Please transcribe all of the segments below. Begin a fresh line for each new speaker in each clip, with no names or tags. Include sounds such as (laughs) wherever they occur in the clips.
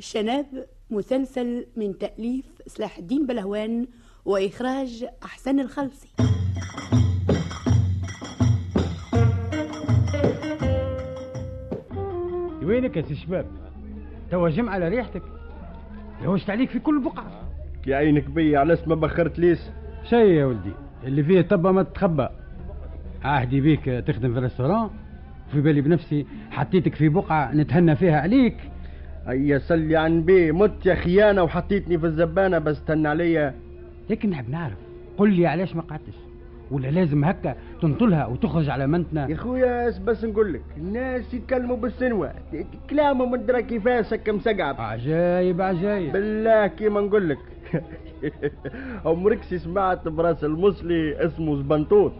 شناب مسلسل من تأليف سلاح الدين بلهوان وإخراج أحسن الخلصي
وينك يا سي شباب؟ توا جم على ريحتك لوشت عليك في كل بقعة
يا عينك بيا علاش ما بخرت ليش
شي يا ولدي اللي فيه طبة ما تتخبى عهدي بيك تخدم في الريستوران في بالي بنفسي حطيتك في بقعة نتهنى فيها عليك
هيا سلي عن بي مت يا خيانه وحطيتني في الزبانه بس تن عليا
لكن نحب نعرف قل لي علاش ما قعدتش ولا لازم هكا تنطلها وتخرج على
يا
منتنا
خويا اش بس نقول لك الناس يتكلموا بالسنوه كلامهم ندرى كيفاش هكا مسقعب
عجايب عجايب
بالله كيما نقول لك (laughs) عمرك شي سمعت براس المصلي اسمه زبنطوط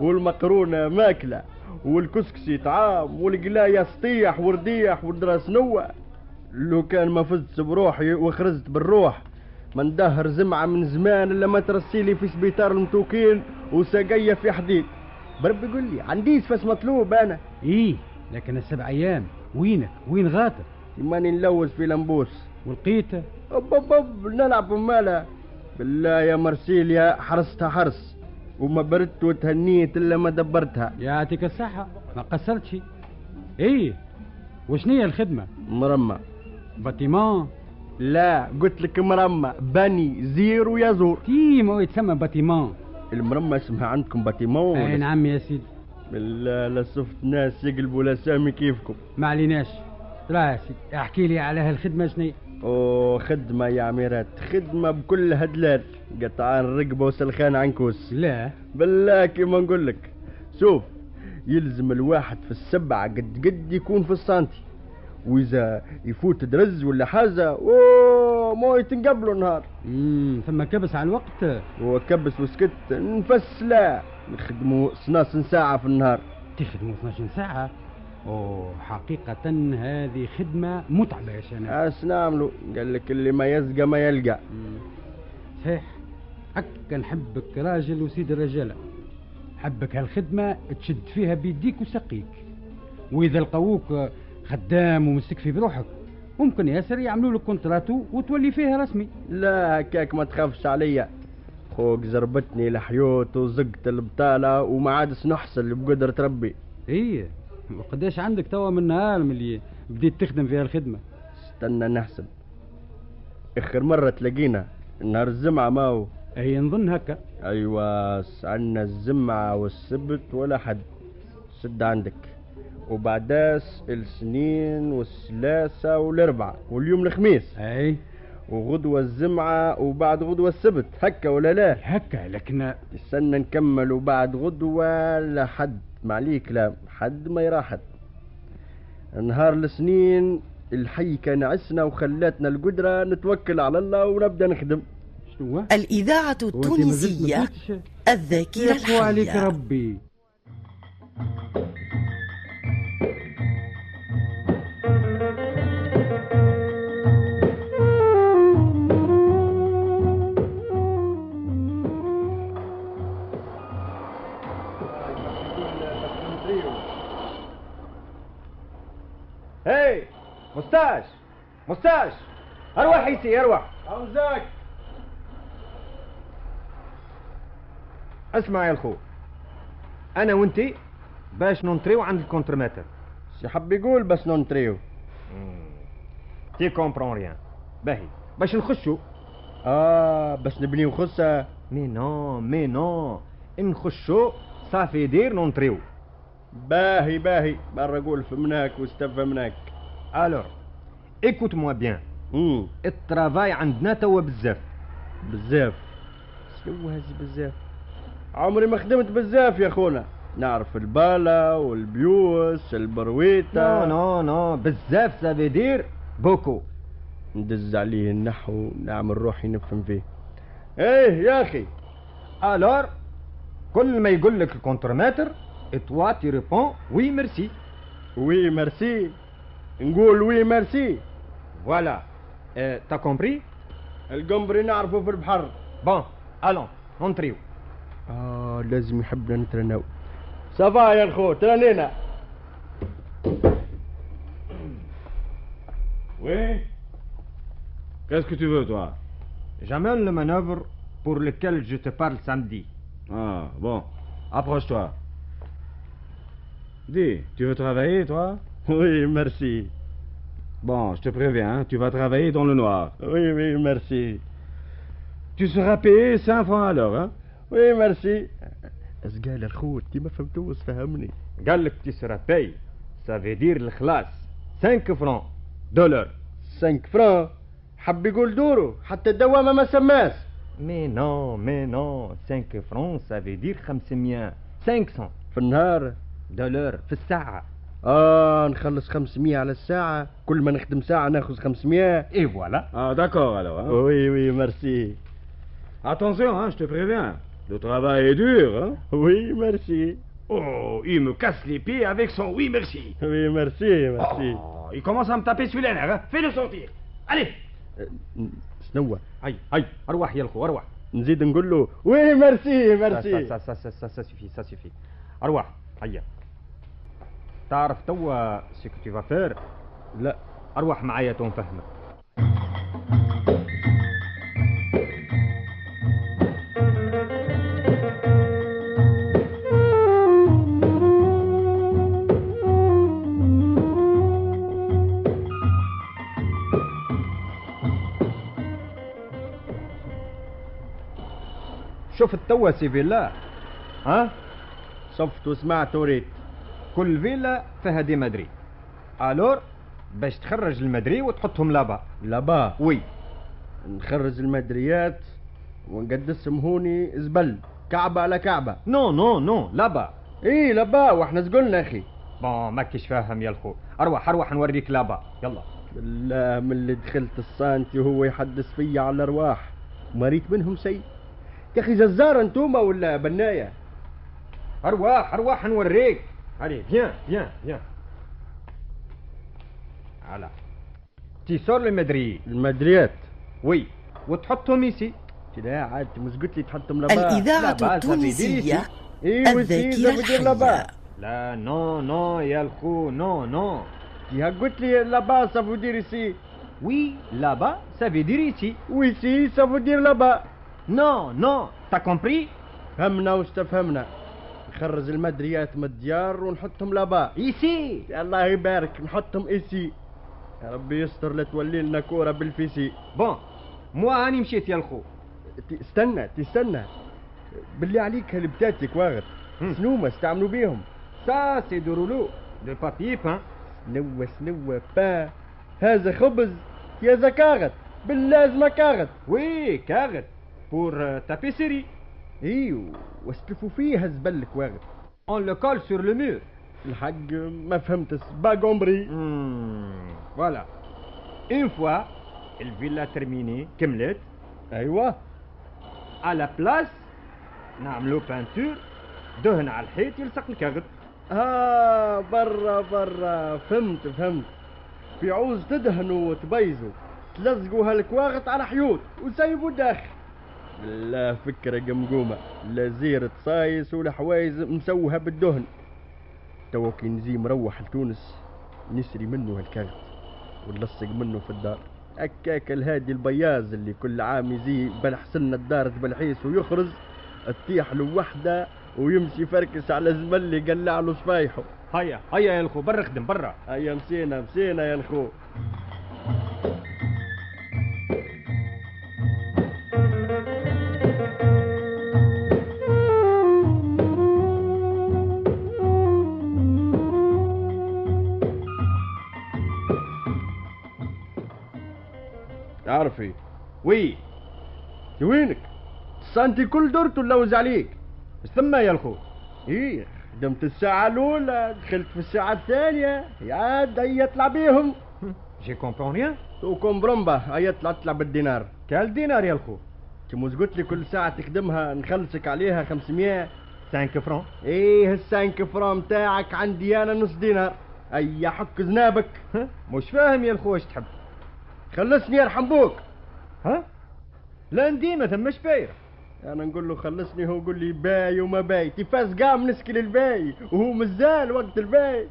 والمقرونه ماكله والكسكسي طعام والقلايه سطيح ورديح والدراس نوة لو كان ما فزت بروحي وخرجت بالروح ما ندهر زمعة من زمان إلا ما ترسيلي في سبيطار المتوكين وسقية في حديد بربي قول لي عنديش فاس مطلوب أنا
ايه لكن السبع ايام وينك وين غاتر
ماني نلوز في لمبوس
ولقيته
أب أب أب نلعب مالا بالله يا مرسيليا حرستها حرس وما بردت وتهنيت الا ما دبرتها
يعطيك الصحة ما قصرتش ايه وشنية الخدمة
مرمى
باتيمان
لا قلت لك مرمى بني زيرو يزور
تيم هو يتسمى باتيمان
المرمى اسمها عندكم باتيمون
اي نعم يا سيدي
بالله لا شفت ناس يقلبوا الاسامي كيفكم
ما عليناش لا يا سيدي احكي لي على هالخدمه شنو
اوه خدمة يا عميرات خدمة بكل هدلال قطعان رقبة وسلخان عنكوس
لا
بالله كيما نقول لك شوف يلزم الواحد في السبعة قد قد يكون في السانتي وإذا يفوت درز ولا حاجة أوه ما يتنقبلوا نهار
امم ثم كبس على الوقت
وكبس وسكت نفس لا نخدموا 12 ساعة في النهار
تخدموا 12 ساعه اوه حقيقه هذه خدمه متعبه يا شناب
اش نعملوا قال لك اللي ما يزقى ما يلقى
أمم، صحيح هكا نحبك راجل وسيد الرجاله حبك هالخدمه تشد فيها بيديك وسقيك واذا لقوك خدام ومستكفي بروحك ممكن ياسر يعملوا لك كونتراتو وتولي فيها رسمي
لا هكاك ما تخافش عليا خوك زربتني الحيوت وزقت البطالة وما عادش نحصل بقدرة ربي
ايه وقداش عندك توا من نهار من اللي بديت تخدم في هالخدمة
استنى نحسب اخر مره تلاقينا نهار الجمعه ماو
اي نظن هكا
ايوا عندنا الجمعه أيوة، والسبت ولا حد سد عندك وبعداس السنين والثلاثة والأربعة واليوم الخميس
اي
وغدوة الجمعة وبعد غدوة السبت هكا ولا لا
هكا لكن
استنى نكمل وبعد غدوة لحد معليك لا حد ما يراحت نهار السنين الحي كان عسنا وخلاتنا القدرة نتوكل على الله ونبدأ نخدم
شنو هو؟
الإذاعة
وأنت ما زلت
التونسية
ما فهمتش؟
الذاكرة
يقوى عليك
الحية
ربي
هاي مستاش مستاش اروح يسي اروح اوزاك
اسمع يا الخو انا وانتي باش ننطريو عند الكونترماتر
شي حب يقول بس نونتريو
تي كومبرون ريان باهي باش نخشو
اه بس نبنيو خصة
مي نو مي نو نخشو صافي دير نونطريو
باهي باهي برا قول فهمناك واستفهمناك
الور ايكوت موا بيان
امم
الترافاي عندنا توا بزاف
بزاف شنو هزي بزاف عمري ما خدمت بزاف يا خونا نعرف البالة والبيوس البرويتة
نو نو نو بزاف سافيدير بوكو
ندز عليه النحو نعمل روحي نفهم فيه ايه يا اخي
الور كل ما يقول لك الكونترماتر اتوا تي ريبون وي ميرسي
وي ميرسي نقول وي ميرسي
فوالا
أه،
اه، تا كومبري
القمبري نعرفه في البحر
بون الون نونتريو
اه لازم يحبنا نترناو صفا يا الخو ترنينا
Oui Qu'est-ce que tu veux, toi
جمال المانوفر بور لكال جو تي بارل سامدي
Ah, bon. Approche-toi. Dis, tu veux travailler, toi
وي ميرسي
Bon, je te préviens, hein, tu vas travailler dans le noir.
وي وي ميرسي
Tu seras payé 5 francs à l'heure, hein
وي ميرسي ازقال الخو انت ما فهمتوش فهمني
قال لك تي سرا باي سافيدير الخلاص 5 فرون دولار
5 فران حب يقول دورو حتى الدوامه ما سماس
مي نو مي نو 5 فرون سافيدير 500 500
في النهار
دولار في الساعة
اه نخلص 500 على الساعه كل ما نخدم ساعه ناخذ 500
اي فوالا
Ah, d'accord, alors. hein.
وي وي ميرسي
Attention, hein, je te préviens. Le travail est dur, hein
وي ميرسي
Oh, il me casse les pieds avec son oui, merci.
وي ميرسي ميرسي
آه.
Oh, il commence à me taper sur les nerfs, hein Fais-le sortir. Allez
شنو
هاي هاي اروح يا الخو اروح
نزيد نقول له وي ميرسي ميرسي
سا سا سا سا سا سوفي سا سوفي اروح هيا تعرف توا سي كو تي فير لا اروح معايا تو نفهمك شفت توا سي فيلا ها
شفت وسمعت وريت
كل فيلا فيها دي مدري الور باش تخرج المدري وتحطهم لابا
لابا
وي
نخرج المدريات ونقدسهم هوني زبل كعبه على كعبه
نو نو نو لابا
ايه لابا واحنا زقلنا اخي
بون ماكش فاهم يا الخو اروح اروح نوريك لابا يلا
بالله من اللي دخلت السانتي وهو يحدث فيا على الارواح ما ريت منهم شيء يا اخي جزار انتوما ولا بنايه
ارواح ارواح نوريك علي بيان بيان بيان على تيسور المدري
المدريات
وي وتحطهم يسي
لا عاد مش قلت لي تحطهم لابا
لا
الإذاعة
بأس
التونسية
ايه
الذاكرة
والزيزة بدير لابا
الحية
لا نو نو يا الخو نو نو
يا قلت لي لابا صافو دير سي
وي لابا سافي دير يسي
وي سي صافو دير لابا
نو نو تا كومبري
فهمنا واش تفهمنا نخرج المدريات من الديار ونحطهم لابا
يسي
الله يبارك نحطهم اسي يا ربي يستر لا تولي لنا كوره بالفيسي
بون مو هاني مشيت يا الخو
ت- استنى تستنى باللي عليك هلبتاتك واغد
هم.
شنو ما استعملوا بيهم
سا سي دو رولو دو بابي بان
نوى سنوى با هذا خبز يا زكاغت باللازمة كاغت
وي كاغد بور تابيسيري
ايو واستلفوا فيه هزبلك واغد
اون لو كول سور لو مور
الحق ما فهمت با قمري
فوالا اون فوا الفيلا ترميني كملت
ايوه
على بلاس نعملو بانتور دهن على الحيط يلصق الكاغد
ها برا برا فهمت فهمت في عوز تدهنوا وتبيزوا تلزقوا هالكواغط على حيوط وسيبوا داخل لا فكرة قمقومة لا زيرة صايس ولا حوايز مسوها بالدهن توا كي نجي مروح لتونس نسري منه هالكاغط ونلصق منه في الدار هكاك الهادي البياز اللي كل عام يجي بلحسن الدار تبلحيس ويخرج تطيح له وحده ويمشي فركس على زمن اللي قلع له صفايحه
هيا هيا يا الخو برا خدم برا
هيا مسينا مسينا يا الخو
تعرفي
وي تي وينك سانتي كل درت نلوز عليك
ثم يا الخو
ايه خدمت الساعة الأولى دخلت في الساعة الثانية يا هيا طلع بيهم
جي كومبون ريان
وكم برمبة هيا طلع تلعب بالدينار
كال دينار يا الخو
كيما قلت لي كل ساعة تخدمها نخلصك عليها 500
5 فرون
ايه السانك فرام تاعك عندي انا نص دينار اي حك زنابك
ها؟ مش فاهم يا الخو اش تحب
خلصني يرحم بوك
ها لا ندي ما ثمش باير
انا نقول له خلصني هو يقول لي باي وما باي تفاز قام نسكي للباي وهو مازال وقت الباي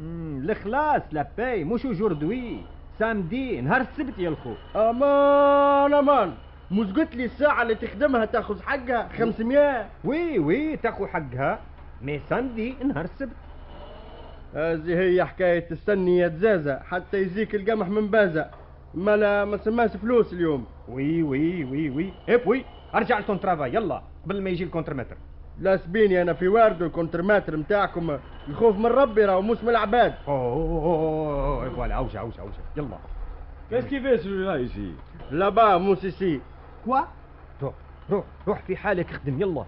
الخلاص لا باي مش جوردوي سامدي نهار السبت يا الخو
امان امان مش قلت لي الساعة اللي تخدمها تاخذ حقها 500
وي وي تاخو حقها مي سامدي نهار السبت
هذه هي حكاية تستني يا تزازة حتى يزيك القمح من بازة ما لا ما سماش فلوس اليوم
وي وي وي وي ايب وي ارجع لتون ترافاي يلا قبل ما يجي الكونترمتر
لا سبيني انا في واردو الكونترماتر متاعكم الخوف من ربي راهو مش من العباد
اوه فوالا اوجع اوجع اوجع يلا
Qu'est-ce qu'il fait celui-là ici
لابا مو سيسي
كوا روح روح روح في حالك خدم يلا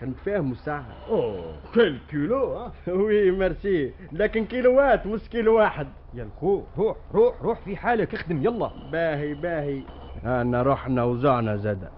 كنت فاهم الساعة
Oh, quel culot, hein
وي ميرسي لكن كيلوات مش كيلو واحد
يا الخو روح روح روح في حالك اخدم يلا
باهي باهي انا رحنا وزعنا زاد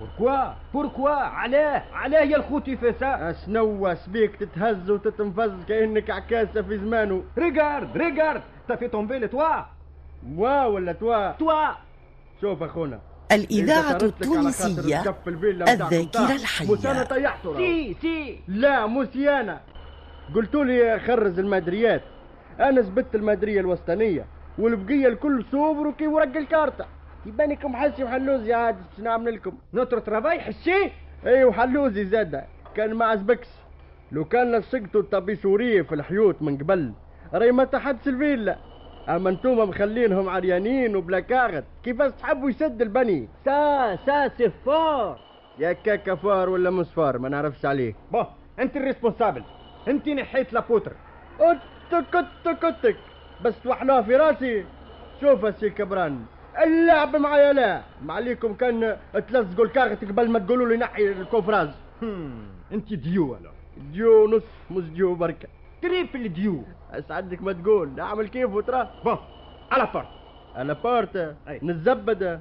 بوركوا بوركوا علاه علاه يا الخو تفاسا
شنو سبيك تتهز وتتنفز كانك عكاسه في زمانه
ريغارد ريغارد تا في طومبي لتوا
وا ولا توا
توا
شوف اخونا
الإذاعة
إذا تردتك على خاطر
التونسية
تكف الفيلا متاعكم
الذاكرة
تاع.
الحية.
مش انا طيحته راهو.
سي سي
لا مو سيانا قلتوا لي خرز المادريات انا زبدت المادريه الوسطانيه والبقيه الكل صوبروا كي ورق الكارتة يبانكم حسي وحلوزي عاد شنو نعمل لكم
نوتر ترافاي حسي
اي وحلوزي زاد كان ما عجبكش لو كان لصقتوا الطبيشوريه في الحيوط من قبل راي ما تحدش الفيلا اما انتوما مخلينهم عريانين وبلا كاغد كيفاش تحبوا يسد البني
سا سا سي فور
يا كاكا فار ولا مسفار ما نعرفش عليه
بون انت الريسبونسابل انت نحيت لابوتر
اتك اتك اتك بس وحنا في راسي شوف السي كبران اللعب معايا لا معليكم كان تلزقوا الكارت قبل ما تقولوا لي نحي الكوفراز
انت ديو الو
ديو نص مش ديو بركه
تريبل ديو
اسعدك ما تقول اعمل كيف ترى
بون على فرق
انا بارتا
أي.
نتزبد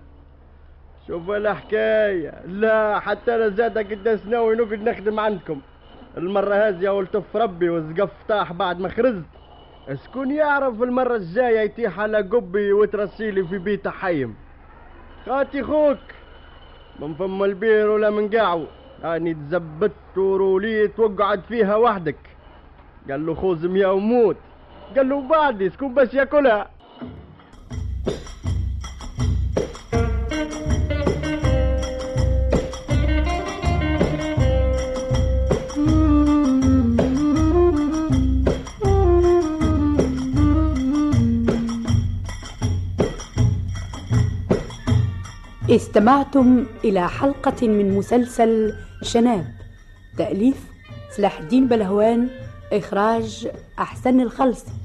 شوف الحكايه لا حتى انا زاد قداش ناوي نقعد نخدم عندكم المره هذه اول تف ربي والسقف طاح بعد ما خرزت شكون يعرف المره الجايه يتيح على قبي وترسيلي في بيت حيم خاتي خوك من فم البير ولا من قاعو اني تزبدت وروليت وقعد فيها وحدك قال له خوز ميا وموت قال له بعدي شكون باش ياكلها
استمعتم إلى حلقة من مسلسل شناب تأليف سلاح الدين بلهوان إخراج أحسن الخلصي